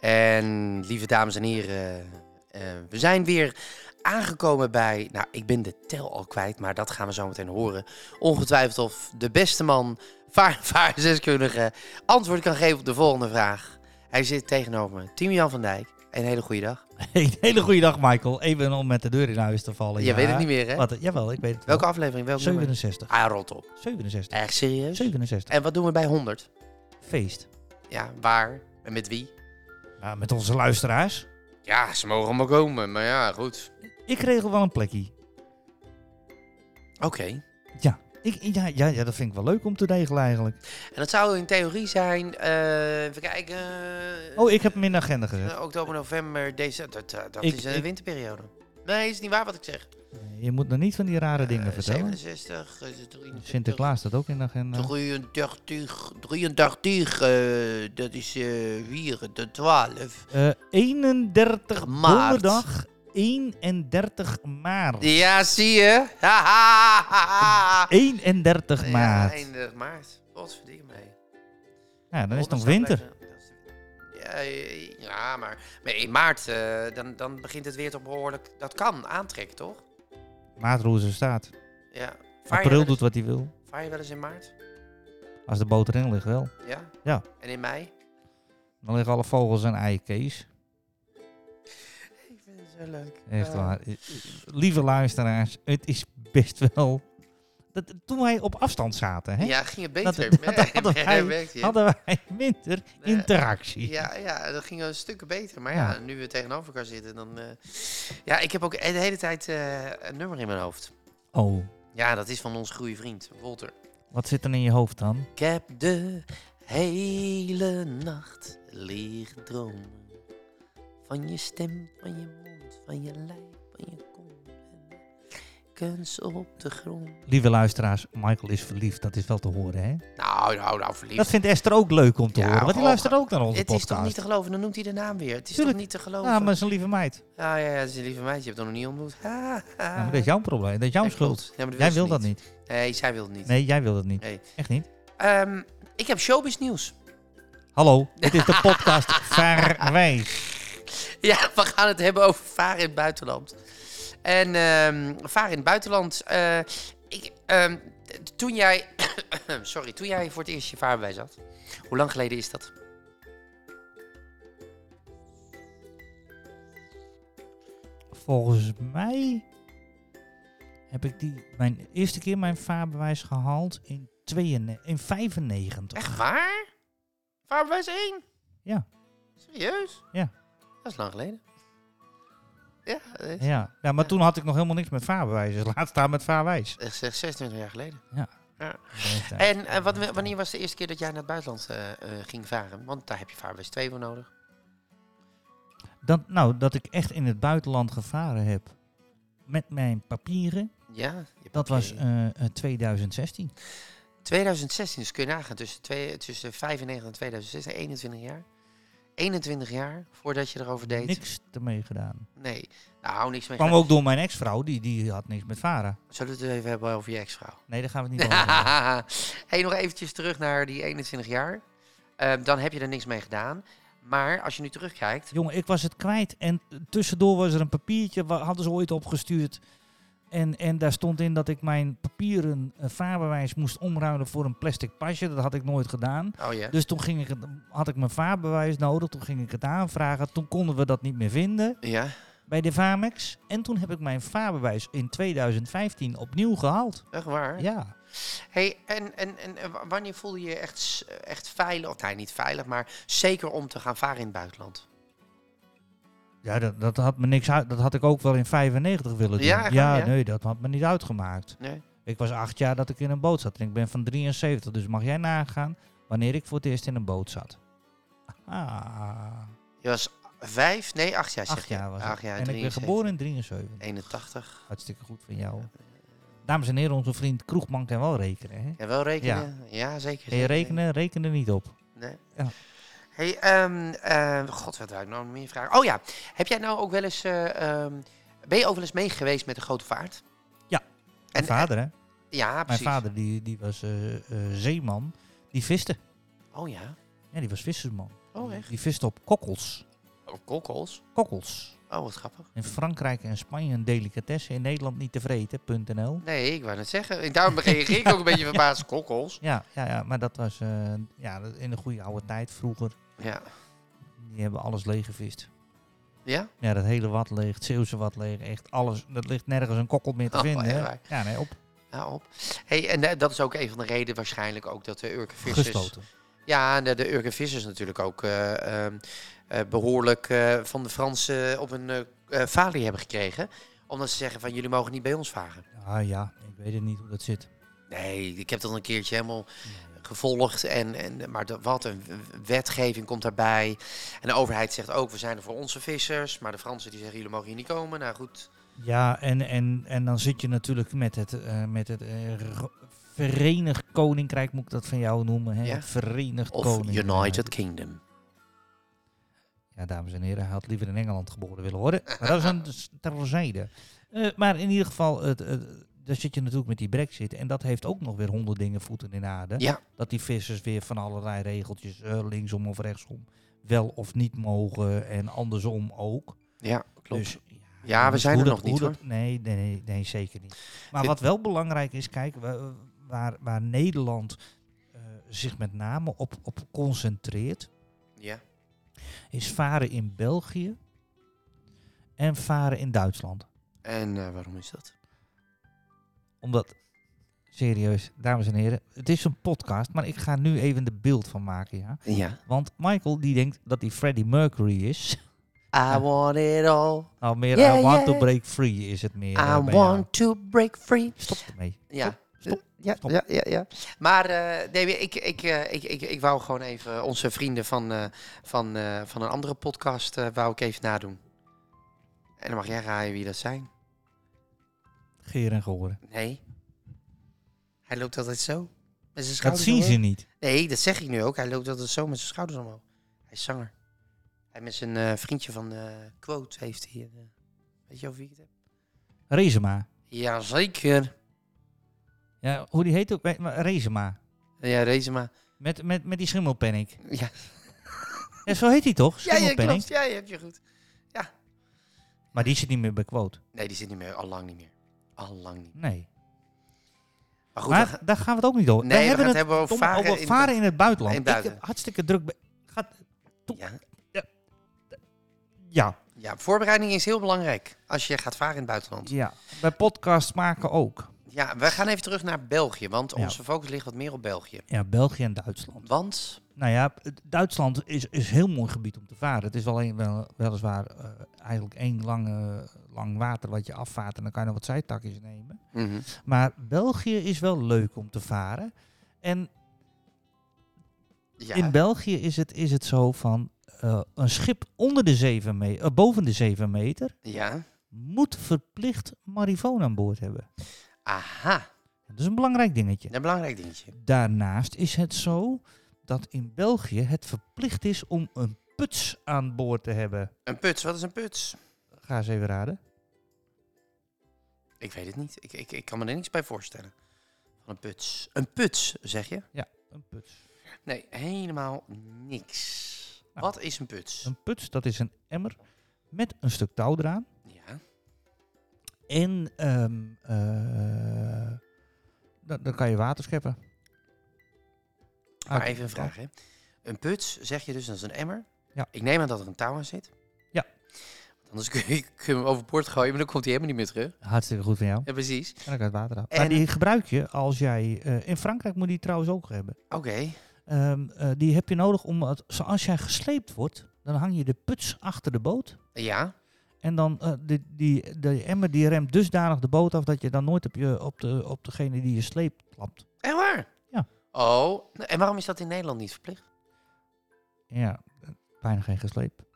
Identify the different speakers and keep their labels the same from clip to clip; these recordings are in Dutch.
Speaker 1: En lieve dames en heren, eh, we zijn weer aangekomen bij. Nou, ik ben de tel al kwijt, maar dat gaan we zo meteen horen. Ongetwijfeld of de beste man, vaar, vaardeskundige, antwoord kan geven op de volgende vraag. Hij zit tegenover me, Timian van Dijk. Een hele goede dag.
Speaker 2: Een hele goede dag, Michael. Even om met de deur in huis te vallen.
Speaker 1: Je weet het niet meer, hè?
Speaker 2: Wat, jawel, ik weet het wel.
Speaker 1: Welke aflevering? Welk nummer? dus?
Speaker 2: 67.
Speaker 1: Ah, rot op.
Speaker 2: 67.
Speaker 1: Echt serieus?
Speaker 2: 67.
Speaker 1: En wat doen we bij 100?
Speaker 2: Feest.
Speaker 1: Ja, waar en met wie?
Speaker 2: Ja, met onze luisteraars.
Speaker 1: Ja, ze mogen allemaal komen, maar ja, goed.
Speaker 2: Ik regel wel een plekje.
Speaker 1: Oké.
Speaker 2: Ik, ja, ja, ja, dat vind ik wel leuk om te regelen eigenlijk.
Speaker 1: En dat zou in theorie zijn, eh, even kijken. eh,
Speaker 2: Oh, ik heb hem in de agenda gezet.
Speaker 1: Eh, Oktober, november, december. Dat, dat- dat
Speaker 2: Ik-
Speaker 1: is een
Speaker 2: ik-
Speaker 1: winterperiode. Nee, is niet waar wat ik zeg.
Speaker 2: Je moet nog niet van die rare dingen
Speaker 1: Eh,
Speaker 2: vertellen.
Speaker 1: 67, eh, 23.
Speaker 2: Sinterklaas nou. staat ook in de agenda.
Speaker 1: 33, 83, eh, dat is eh 4, de 12.
Speaker 2: Eh 31
Speaker 1: Maart.
Speaker 2: donderdag, 31 maart.
Speaker 1: Ja, zie je? Ha, ha, ha, ha.
Speaker 2: 31
Speaker 1: Ja,
Speaker 2: maart.
Speaker 1: 31 maart. Wat verdikken mee.
Speaker 2: Ja, dan is het nog
Speaker 1: Donderdag
Speaker 2: winter.
Speaker 1: blijft, eh, dat is- Ja, eh, ja, maar maar in maart eh, dan, dan begint het weer toch behoorlijk. Dat kan aantrekken, toch?
Speaker 2: Maart roezen staat.
Speaker 1: Ja. Vaar je wel
Speaker 2: April
Speaker 1: eens-
Speaker 2: doet wat hij wil.
Speaker 1: Vaar je wel eens in maart?
Speaker 2: Als de boot erin ligt wel.
Speaker 1: Ja?
Speaker 2: Ja.
Speaker 1: En in mei?
Speaker 2: Dan liggen alle vogels en ei, Kees.
Speaker 1: Ik vind het zo leuk.
Speaker 2: Echt waar. Eh, eh, Lieve luisteraars, het is best wel... Dat, toen wij op afstand zaten, hè,
Speaker 1: Ja, ging het
Speaker 2: Dat-
Speaker 1: beter.
Speaker 2: dat- dat hadden
Speaker 1: Ja,
Speaker 2: wij-
Speaker 1: werkte het.
Speaker 2: hadden wij minder
Speaker 1: Nee.
Speaker 2: interactie.
Speaker 1: Ja, ja, dat ging wel een stuk beter. Maar ja,
Speaker 2: Ja.
Speaker 1: nu we tegenover elkaar zitten, dan... eh, Ja, ik heb ook de hele tijd eh, een nummer in mijn hoofd.
Speaker 2: Oh,
Speaker 1: Ja, dat is van onze goede vriend, Walter.
Speaker 2: wat zit er in je hoofd dan?
Speaker 1: Ik heb de hele nacht liggen dromen. Van je stem, van je mond, van je lijf, van je kont. En kunst op de grond.
Speaker 2: Lieve luisteraars, Michael is verliefd. Dat is wel te horen, hè?
Speaker 1: Nou, nou, nou, verliefd.
Speaker 2: Dat vindt Esther ook leuk om te
Speaker 1: Ja,
Speaker 2: horen, want die
Speaker 1: oh,
Speaker 2: luistert ook naar onze
Speaker 1: Het is
Speaker 2: podcast.
Speaker 1: toch niet te geloven? Dan noemt hij de naam weer. Het is
Speaker 2: Tuurlijk.
Speaker 1: toch niet te geloven?
Speaker 2: Ja, maar zijn lieve meid.
Speaker 1: Ah ja, ja, dat is een lieve meisje. Je hebt hem nog niet ontmoet. Ha, ha.
Speaker 2: Ja, maar dat is jouw probleem, dat is jouw
Speaker 1: Ja,
Speaker 2: schuld.
Speaker 1: klopt. Ja, maar
Speaker 2: Jij
Speaker 1: ze
Speaker 2: wil dat niet.
Speaker 1: Nee, zij wil het niet.
Speaker 2: Nee, jij wil dat niet.
Speaker 1: Nee.
Speaker 2: Echt niet.
Speaker 1: Ehm, ik heb showbiz nieuws.
Speaker 2: Hallo, dit is de podcast Verwijs.
Speaker 1: Ja, we gaan het hebben over varen in het buitenland. En ehm, varen in het buitenland. eh, ik, ehm, t- toen jij... sorry, toen jij voor het eerst je vaarbewijs had. Hoe lang geleden is dat?
Speaker 2: Volgens mij heb ik die, mijn eerste keer mijn vaarbewijs gehaald in, 92, in 95.
Speaker 1: Echt waar? Vaarbewijs 1?
Speaker 2: Ja.
Speaker 1: Serieus?
Speaker 2: Ja.
Speaker 1: Dat is lang geleden. Ja, eh, dat is-
Speaker 2: Ja. ja, maar
Speaker 1: Ja.
Speaker 2: toen had ik nog helemaal niks met vaarbewijs. Dus laat staan met vaarwijs.
Speaker 1: dat is echt 26 eh, jaar geleden.
Speaker 2: En,
Speaker 1: En eh, wat, wanneer was de eerste keer dat jij naar het buitenland eh, eh, ging varen? Want daar heb je vaarbewijs 2 voor nodig.
Speaker 2: dat, nou, dat ik echt in het buitenland gevaren heb met mijn papieren,
Speaker 1: Ja, je hebt
Speaker 2: dat
Speaker 1: een
Speaker 2: was
Speaker 1: keer-
Speaker 2: eh, eh, 2016.
Speaker 1: 2016, dus kun je nagaan. Tussen, twee, tussen 95 en 2016, 21 jaar. 21 jaar voordat je erover deed.
Speaker 2: Niks ermee gedaan.
Speaker 1: Nee, nou hou niks mee.
Speaker 2: Kwam ook door mijn ex-vrouw, die, die had niks met varen.
Speaker 1: Zullen we het even hebben over je ex-vrouw?
Speaker 2: Nee, daar gaan we het niet over hebben.
Speaker 1: hey, nog eventjes terug naar die 21 jaar. Eh, dan heb je er niks mee gedaan. Maar als je nu terugkijkt...
Speaker 2: Jongen, ik was het kwijt. En tussendoor was er een papiertje, wa- hadden ze ooit opgestuurd. En, en daar stond in dat ik mijn papieren eh, vaarbewijs moest omruilen voor een plastic pasje. Dat had ik nooit gedaan.
Speaker 1: Oh ja.
Speaker 2: Dus toen ging ik het, had ik mijn vaarbewijs nodig. Toen ging ik het aanvragen. Toen konden we dat niet meer vinden
Speaker 1: Ja.
Speaker 2: bij de Vamex. En toen heb ik mijn vaarbewijs in 2015 opnieuw gehaald.
Speaker 1: Echt waar?
Speaker 2: Ja.
Speaker 1: Hey, en, en, en eh, wa- wanneer voelde je je echt, s- echt veilig, of nee, niet veilig, maar zeker om te gaan varen in het buitenland?
Speaker 2: Ja, dat, dat had me niks uit. Dat had ik ook wel in 95 willen doen.
Speaker 1: Ja, echt waar, ja?
Speaker 2: nee, dat had me niet uitgemaakt.
Speaker 1: Nee?
Speaker 2: Ik was acht jaar dat ik in een boot zat. En ik ben van 73, dus mag jij nagaan wanneer ik voor het eerst in een boot zat. Ah,
Speaker 1: Je was Vijf? Nee, acht jaar zeg
Speaker 2: Acht
Speaker 1: Dus je.
Speaker 2: jaar was
Speaker 1: Acht
Speaker 2: het.
Speaker 1: jaar,
Speaker 2: En ik ben
Speaker 1: 73.
Speaker 2: geboren in 73.
Speaker 1: 81.
Speaker 2: Hartstikke goed van jou. Dames en heren, onze vriend Kroegman kan wel rekenen. Hè?
Speaker 1: En wel rekenen? Ja, zeker.
Speaker 2: Kan je
Speaker 1: zeker.
Speaker 2: rekenen? Reken er niet op.
Speaker 1: Nee.
Speaker 2: Ja.
Speaker 1: Hey, ehm, eh, god, wat wou ik nou nog meer vragen? Oh ja, heb jij nou ook wel eens, eh, ehm, ben je ook wel eens mee geweest met de grote vaart?
Speaker 2: Ja.
Speaker 1: En,
Speaker 2: Mijn vader, hè?
Speaker 1: eh, ja,
Speaker 2: Mijn
Speaker 1: precies.
Speaker 2: vader die, die was eh, eh, zeeman. Die viste.
Speaker 1: Oh ja.
Speaker 2: Ja, die was vissersman.
Speaker 1: Oh echt?
Speaker 2: Die viste op kokkels.
Speaker 1: Oh, kokkels.
Speaker 2: Kokkels.
Speaker 1: Oh, wat grappig.
Speaker 2: In Frankrijk en Spanje een delicatesse. In Nederland niet te vreten.nl.
Speaker 1: Nee, ik wou net zeggen. En daarom reageer ik ook een beetje verbaasd. Kokkels.
Speaker 2: Ja, ja, ja, maar dat was eh, ja, in de goede oude tijd vroeger.
Speaker 1: Ja.
Speaker 2: Die hebben alles leeggevist.
Speaker 1: Ja?
Speaker 2: Ja, dat hele wat leeg, het Zeeuwse wat leeg, echt alles. Dat ligt nergens een kokkel meer te
Speaker 1: Oh,
Speaker 2: vinden.
Speaker 1: echt
Speaker 2: hè.
Speaker 1: waar?
Speaker 2: Ja, nee, op
Speaker 1: Nou op. Hey, en eh, dat is ook een van de redenen waarschijnlijk ook dat eh, de Urkenvissers...
Speaker 2: gestoten.
Speaker 1: Ja, en de, de Urkenvissers natuurlijk ook eh, ehm, eh, behoorlijk eh, van de Fransen op een eh eh, falie hebben gekregen. Omdat ze zeggen van jullie mogen niet bij ons varen.
Speaker 2: Ah ja, ik weet het niet hoe dat zit.
Speaker 1: Nee, ik heb dat een keertje helemaal gevolgd. En, en, maar de- wat een w- wetgeving komt daarbij. En de overheid zegt ook, we zijn er voor onze vissers. Maar de Fransen die zeggen, jullie mogen hier niet komen. Nou goed,
Speaker 2: Ja, en, en, en dan zit je natuurlijk met het, eh, met het eh, ro- Verenigd Koninkrijk, moet ik dat van jou noemen. Hè?
Speaker 1: Ja.
Speaker 2: Het Verenigd
Speaker 1: of
Speaker 2: Koninkrijk.
Speaker 1: United Kingdom.
Speaker 2: Ja, dames en heren, hij had liever in Engeland geboren willen worden. Maar dat is een s- terzijde. Eh, maar in ieder geval, het, het- daar zit je natuurlijk met die brexit. En dat heeft ook nog weer honderd dingen voeten in aarde.
Speaker 1: Ja.
Speaker 2: Dat die vissers weer van allerlei regeltjes, eh, linksom of rechtsom, wel of niet mogen. En andersom ook.
Speaker 1: Ja, klopt.
Speaker 2: Dus,
Speaker 1: Ja, we
Speaker 2: dus
Speaker 1: zijn
Speaker 2: hoe
Speaker 1: er
Speaker 2: dat-
Speaker 1: nog niet,
Speaker 2: hoe dat- nee, nee, nee, nee, zeker niet. Maar
Speaker 1: Dit-
Speaker 2: wat wel belangrijk is, kijk, wa- waar, waar Nederland eh, zich met name op, op concentreert,
Speaker 1: ja.
Speaker 2: is varen in België en varen in Duitsland.
Speaker 1: En eh, waarom is dat?
Speaker 2: Omdat, serieus, dames en heren, het is een podcast, maar ik ga nu even de beeld van maken, ja.
Speaker 1: Ja.
Speaker 2: Want Michael, die denkt dat hij Freddie Mercury is.
Speaker 1: I want it all.
Speaker 2: Nou, meer
Speaker 1: Ja,
Speaker 2: I want
Speaker 1: ja.
Speaker 2: to break free is het meer. eh,
Speaker 1: I
Speaker 2: bij jou.
Speaker 1: want to break free.
Speaker 2: Stop ermee.
Speaker 1: Ja.
Speaker 2: Stop,
Speaker 1: Ja,
Speaker 2: stop.
Speaker 1: ja, ja, ja. Maar eh, nee, ik, ik, eh, ik, ik, ik wou gewoon even onze vrienden van, eh, van, eh, van een andere podcast eh, wou ik even nadoen. En dan mag jij raaien wie dat zijn.
Speaker 2: Geer en Goren.
Speaker 1: Nee. Hij loopt altijd zo. Met zijn
Speaker 2: Dat
Speaker 1: schouders
Speaker 2: zien ze
Speaker 1: omhoog.
Speaker 2: niet.
Speaker 1: Nee, dat zeg ik nu ook. Hij loopt altijd zo met zijn schouders omhoog. Hij is zanger. Hij met zijn eh, vriendje van eh, Quote heeft hij... eh, weet je over wie ik het heb?
Speaker 2: Rezema.
Speaker 1: Jazeker.
Speaker 2: Ja, hoe die heet ook? Eh, maar Rezema.
Speaker 1: Ja, Rezema.
Speaker 2: Met, met, met die schimmelpennik.
Speaker 1: Ja,
Speaker 2: Ja, zo heet hij toch?
Speaker 1: Ja, ja,
Speaker 2: Schimmelpennik.
Speaker 1: klopt. Ja, je hebt je goed.
Speaker 2: maar die zit niet meer bij Quote.
Speaker 1: Nee, die zit niet meer. Al lang niet meer. Al lang niet.
Speaker 2: Nee.
Speaker 1: Maar goed,
Speaker 2: maar
Speaker 1: we gaan-
Speaker 2: daar gaan we het ook niet over.
Speaker 1: nee, we gaan
Speaker 2: hebben
Speaker 1: het
Speaker 2: het
Speaker 1: hebben over
Speaker 2: domme
Speaker 1: varen.
Speaker 2: over
Speaker 1: in-
Speaker 2: varen in het buitenland.
Speaker 1: in het
Speaker 2: Ik
Speaker 1: buitenland.
Speaker 2: heb hartstikke druk. be- Gaat,
Speaker 1: Ja.
Speaker 2: ja,
Speaker 1: ja, voorbereiding is heel belangrijk als je gaat varen in het buitenland.
Speaker 2: ja, bij podcasts maken ook.
Speaker 1: Ja, we gaan even terug naar België, want
Speaker 2: Ja.
Speaker 1: onze focus ligt wat meer op België.
Speaker 2: Ja, België en Duitsland.
Speaker 1: Want,
Speaker 2: Nou ja, het- Duitsland is, is een heel mooi gebied om te varen. Het is wel een, wel, weliswaar eh, eigenlijk één lange, lang water wat je afvaart. En dan kan je nog wat zijtakjes nemen. Maar België is wel leuk om te varen. En
Speaker 1: ja,
Speaker 2: in België is het, is het zo van eh, een schip onder de 7 me- eh, boven de 7 meter
Speaker 1: ja,
Speaker 2: moet verplicht marifoon aan boord hebben.
Speaker 1: aha,
Speaker 2: Dat is een belangrijk dingetje.
Speaker 1: een belangrijk dingetje.
Speaker 2: Daarnaast is het zo dat in België het verplicht is om een puts aan boord te hebben.
Speaker 1: Een puts, wat is een puts?
Speaker 2: Ga eens even raden.
Speaker 1: Ik weet het niet, ik, ik, ik kan me er niks bij voorstellen. Van een puts. Een puts, zeg je?
Speaker 2: Een puts.
Speaker 1: Nee, helemaal niks.
Speaker 2: Nou.
Speaker 1: Wat is een puts?
Speaker 2: Een puts, dat is een emmer met een stuk touw eraan.
Speaker 1: Ja,
Speaker 2: En ehm, eh, dan, dan kan je water scheppen. Ah,
Speaker 1: maar
Speaker 2: Uit-
Speaker 1: even een vraag, hè. Een puts, zeg je dus, dat is een emmer.
Speaker 2: Ja.
Speaker 1: Ik neem aan dat er een touw aan zit.
Speaker 2: Ja.
Speaker 1: Want anders kun je, kun je hem overboord gooien, maar dan komt hij helemaal niet meer terug.
Speaker 2: Hartstikke goed van jou.
Speaker 1: Ja, precies.
Speaker 2: En dan kan het water af.
Speaker 1: En-
Speaker 2: Maar die gebruik je als jij... eh, in Frankrijk moet je die trouwens ook hebben.
Speaker 1: Oké.
Speaker 2: Ehm, eh, die heb je nodig om... het- Zoals jij gesleept wordt, dan hang je de puts achter de boot.
Speaker 1: Ja.
Speaker 2: En dan eh, die, die, de emmer die remt dusdanig de boot af dat je dan nooit op, je, op, de, op degene die je sleept klapt.
Speaker 1: Echt waar?
Speaker 2: Ja.
Speaker 1: Oh, en waarom is dat in Nederland niet verplicht?
Speaker 2: Ja, eh, bijna geen gesleep.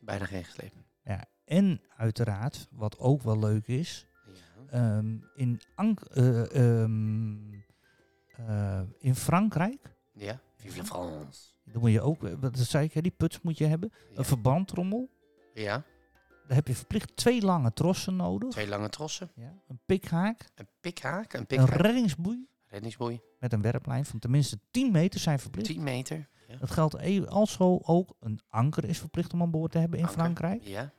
Speaker 1: Bijna geen geslepen.
Speaker 2: En uiteraard, wat ook wel leuk is,
Speaker 1: Ja.
Speaker 2: ehm, in, Ank- eh, ehm, eh, in Frankrijk,
Speaker 1: ja. Vive la France.
Speaker 2: dan moet je ook, eh, dat zei ik, hè, die puts moet je hebben,
Speaker 1: Ja.
Speaker 2: een verbandtrommel.
Speaker 1: Ja,
Speaker 2: Daar heb je verplicht twee lange trossen nodig.
Speaker 1: Twee lange trossen.
Speaker 2: Ja, een pikhaak,
Speaker 1: Een pikhaak. Een
Speaker 2: een
Speaker 1: pikhaak.
Speaker 2: reddingsboei
Speaker 1: Reddingsboei.
Speaker 2: met een werplijn van tenminste 10 meter zijn verplicht.
Speaker 1: 10 meter. Ja.
Speaker 2: Dat geldt e- also ook, een anker is verplicht om aan boord te hebben in
Speaker 1: Anker.
Speaker 2: Frankrijk.
Speaker 1: Ja.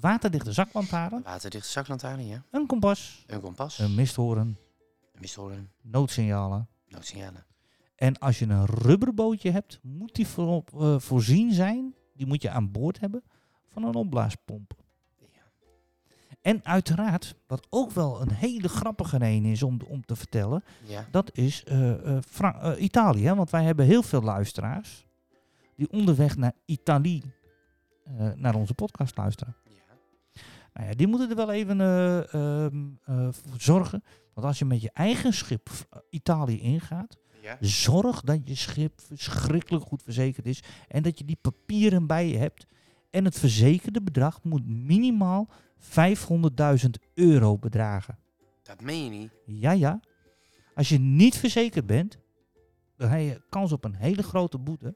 Speaker 2: Waterdichte zaklantaarn,
Speaker 1: Een waterdichte zaklantaarn. Ja.
Speaker 2: een kompas,
Speaker 1: Een kompas.
Speaker 2: een
Speaker 1: Een
Speaker 2: misthoorn,
Speaker 1: pistolen.
Speaker 2: noodsignalen.
Speaker 1: Noodsignalen.
Speaker 2: En als je een rubberbootje hebt, moet die voorop, eh, voorzien zijn, die moet je aan boord hebben, van een opblaaspomp.
Speaker 1: Ja.
Speaker 2: En uiteraard, wat ook wel een hele grappige een is om, om te vertellen,
Speaker 1: Ja.
Speaker 2: Dat is eh, eh, Fra- eh, Italië, hè, want wij hebben heel veel luisteraars die onderweg naar Italië eh, naar onze podcast luisteren.
Speaker 1: Ja.
Speaker 2: Nou ja, die moeten er wel even eh, ehm, eh, voor zorgen. Want als je met je eigen schip eh, Italië ingaat,
Speaker 1: Ja.
Speaker 2: zorg dat je schip verschrikkelijk goed verzekerd is en dat je die papieren bij je hebt. En het verzekerde bedrag moet minimaal 500.000 euro bedragen.
Speaker 1: Dat meen je niet.
Speaker 2: Ja, ja. Als je niet verzekerd bent, dan heb je kans op een hele grote boete.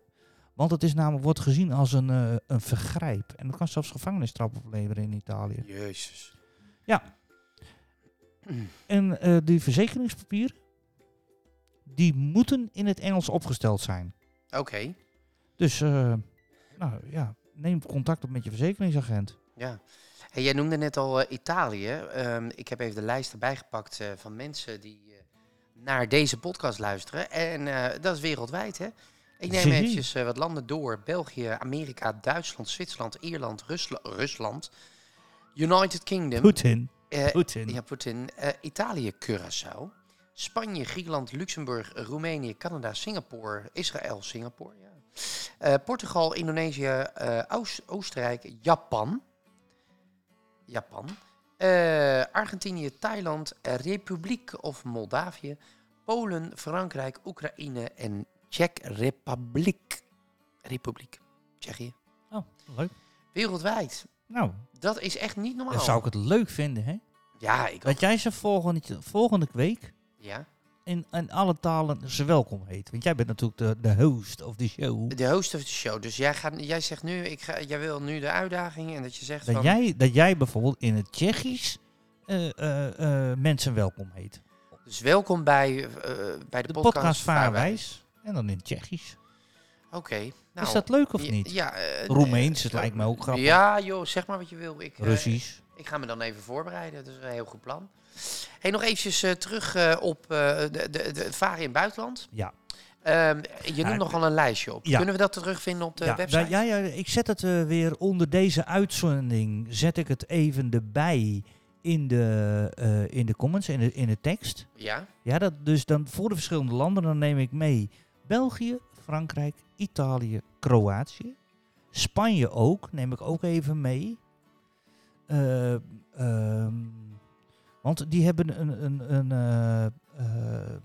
Speaker 2: Want het is namelijk, wordt gezien als een, eh, een vergrijp. En dat kan zelfs gevangenisstraf opleveren in Italië.
Speaker 1: Jezus.
Speaker 2: Ja.
Speaker 1: Mm.
Speaker 2: En eh, die verzekeringspapieren, die moeten in het Engels opgesteld zijn.
Speaker 1: Oké.
Speaker 2: Dus, eh, nou ja, neem contact op met je verzekeringsagent.
Speaker 1: Ja. Hey, jij noemde net al eh, Italië. Ehm, ik heb even de lijst erbij gepakt eh, van mensen die eh, naar deze podcast luisteren. En eh, dat is wereldwijd, hè? Ik neem
Speaker 2: Zie je.
Speaker 1: eventjes eh, wat landen door. België, Amerika, Duitsland, Zwitserland, Ierland, Rusla- Rusland. United Kingdom.
Speaker 2: Poetin.
Speaker 1: eh,
Speaker 2: Poetin.
Speaker 1: ja, Poetin. eh, Italië, Curaçao. Spanje, Griekenland, Luxemburg, Roemenië, Canada, Singapore, Israël, Singapore. Ja. Eh, Portugal, Indonesië, eh, Oost- Oostenrijk, Japan. Japan. Eh, Argentinië, Thailand, eh, Republiek of Moldavië, Polen, Frankrijk, Oekraïne en Czech Republiek. Republiek, Tsjechië.
Speaker 2: Oh, leuk.
Speaker 1: Wereldwijd.
Speaker 2: Nou,
Speaker 1: Dat is echt niet normaal.
Speaker 2: dan zou ik het leuk vinden, hè?
Speaker 1: Ja, ik ook.
Speaker 2: Dat jij ze volgende, volgende week
Speaker 1: Ja.
Speaker 2: in, in alle talen ze welkom heet. Want jij bent natuurlijk de, de host of de show.
Speaker 1: De host of de show. Dus jij, gaat, jij zegt nu, ik ga, jij wil nu de uitdaging en dat je zegt
Speaker 2: Dat
Speaker 1: van...
Speaker 2: jij, dat jij bijvoorbeeld in het Tsjechisch eh, eh, eh, mensen welkom heet.
Speaker 1: Dus welkom bij, eh, bij de,
Speaker 2: De
Speaker 1: podcast,
Speaker 2: podcast
Speaker 1: Vaarwijs.
Speaker 2: Vaarwijs. En dan in het Tsjechisch.
Speaker 1: Oké. nou,
Speaker 2: Is dat leuk of
Speaker 1: ja-
Speaker 2: niet?
Speaker 1: Ja, eh,
Speaker 2: Roemeens,
Speaker 1: eh,
Speaker 2: het lijkt me ook grappig.
Speaker 1: Ja joh, zeg maar wat je wil. Ik, eh,
Speaker 2: Russisch.
Speaker 1: ik ga me dan even voorbereiden, dat is een heel goed plan. Hey, nog eventjes eh, terug eh, op eh, de, de, de varen in het buitenland.
Speaker 2: Ja.
Speaker 1: Ehm, je noemt
Speaker 2: ik-
Speaker 1: nogal een lijstje op.
Speaker 2: Ja.
Speaker 1: Kunnen we dat terugvinden op de
Speaker 2: ja,
Speaker 1: website?
Speaker 2: wij- ja, ja, ik zet het eh, weer onder deze uitzending. Zet ik het even erbij in de, eh, in de comments, in de, in de tekst.
Speaker 1: ja.
Speaker 2: Ja, dat, dus dan voor de verschillende landen dan neem ik mee België, Frankrijk, Italië, Kroatië. Spanje ook, neem ik ook even mee. Eh, ehm, want die hebben een. een, een eh, eh,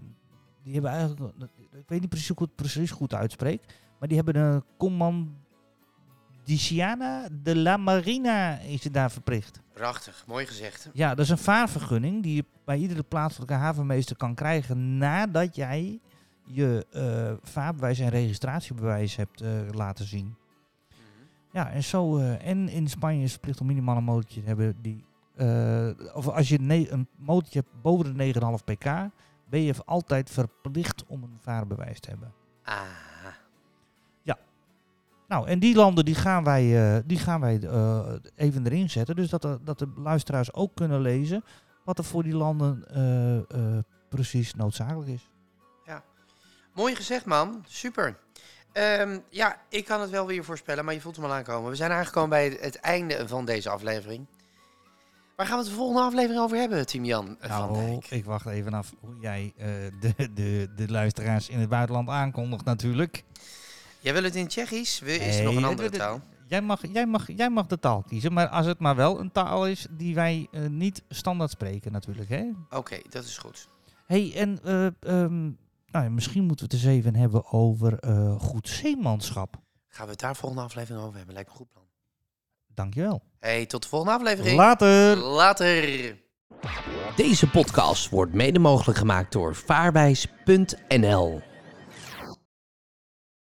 Speaker 2: die hebben eigenlijk. Ik weet niet precies hoe ik het precies goed uitspreek. Maar die hebben een Commandiciana de la Marina is het daar verplicht.
Speaker 1: Prachtig, mooi gezegd.
Speaker 2: Ja, dat is een vaarvergunning die je bij iedere plaatselijke havenmeester kan krijgen nadat jij je eh, vaarbewijs en registratiebewijs hebt eh, laten zien.
Speaker 1: Mhm.
Speaker 2: Ja, en zo. eh, en in Spanje is verplicht om minimaal een motortje te hebben die. eh, of als je ne- een motortje hebt boven de 9,5 pk, ben je altijd verplicht om een vaarbewijs te hebben.
Speaker 1: Ah,
Speaker 2: Nou, en die landen die gaan wij, eh, die gaan wij eh, even erin zetten. Dus dat de, dat de luisteraars ook kunnen lezen wat er voor die landen eh, eh, precies noodzakelijk is.
Speaker 1: Mooi gezegd, man. Super. Ehm, ja, ik kan het wel weer voorspellen, maar je voelt hem al aankomen. We zijn aangekomen bij het einde van deze aflevering. Waar gaan we het de volgende aflevering over hebben, Team Jan van Dijk?
Speaker 2: Nou, ik wacht even af hoe jij eh, de, de, de luisteraars in het buitenland aankondigt natuurlijk.
Speaker 1: Jij wil het in Tsjechisch? Wil- Is er nog
Speaker 2: Nee,
Speaker 1: een andere
Speaker 2: eh,
Speaker 1: taal?
Speaker 2: Jij mag, jij, mag, jij mag de taal kiezen, maar als het maar wel een taal is die wij eh, niet standaard spreken natuurlijk. Hè?
Speaker 1: Oké, dat is goed.
Speaker 2: hey, en eh, ehm, nou, ja, misschien moeten we het eens even hebben over eh, goed zeemanschap.
Speaker 1: Gaan we het daar volgende aflevering over hebben? Lijkt me een goed plan.
Speaker 2: Dankjewel.
Speaker 3: Hey, tot de volgende aflevering.
Speaker 2: Later.
Speaker 3: Later. Deze podcast wordt mede mogelijk gemaakt door vaarwijs.nl.